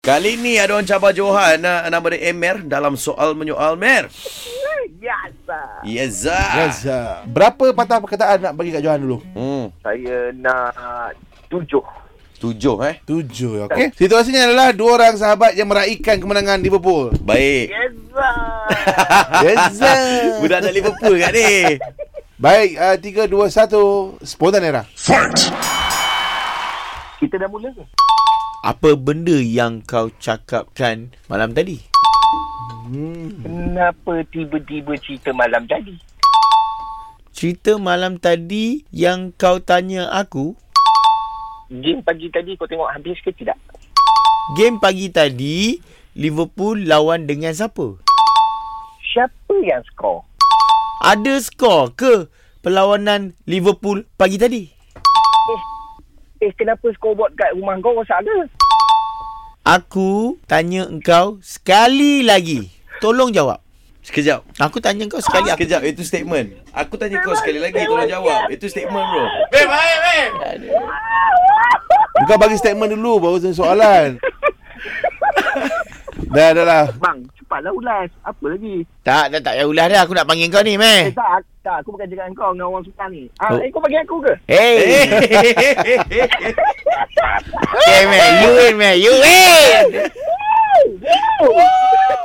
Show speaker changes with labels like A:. A: Kali ni ada orang cabar Johan ah, nama dia Emer dalam soal menyoal Mer.
B: Yes. ah.
A: Yes. Yes.
C: Reza. Berapa patah perkataan nak bagi kat Johan dulu?
A: Hmm,
B: Saya nak tujuh.
A: tujuh eh.
C: Tujuh. Okey. Situasinya adalah dua orang sahabat yang meraihkan kemenangan Liverpool.
A: Baik. Ah,
B: Yes.
C: Reza.
A: Budak dari Liverpool kan? kat ni.
C: Baik, uh, 3 2 1 spontan era.
B: Kita dah mula ke?
D: Apa benda yang kau cakapkan malam tadi?
B: Kenapa tiba-tiba cerita malam tadi?
D: Cerita malam tadi yang kau tanya aku,
B: Game pagi tadi kau tengok habis ke tidak?
D: game pagi tadi Liverpool lawan dengan siapa?
B: Siapa yang skor?
D: Ada skor ke perlawanan Liverpool pagi tadi?
B: Eh kenapa scoreboard kat rumah kau rosak ke?
D: Aku tanya engkau sekali lagi. Tolong jawab.
A: Sekejap.
D: Aku tanya engkau sekali aku.
A: Sekejap itu statement. Aku tanya kau sekali lagi tolong jawab. Itu statement bro.
C: Kau bagi statement dulu baru sen- soalan. dah dah lah.
B: Bang, cepatlah ulas. Apa lagi?
D: Tak, dah tak payah ulas dah. Aku nak panggil kau ni,
B: Eh,
D: meh.
B: tak, tak. Aku bukan cakap kau dengan orang sekarang ni. Ah,
D: Oh.
B: Eh, kau panggil aku ke?
D: Hey.
B: Eh.
D: Okay, meh. You in, meh. You in.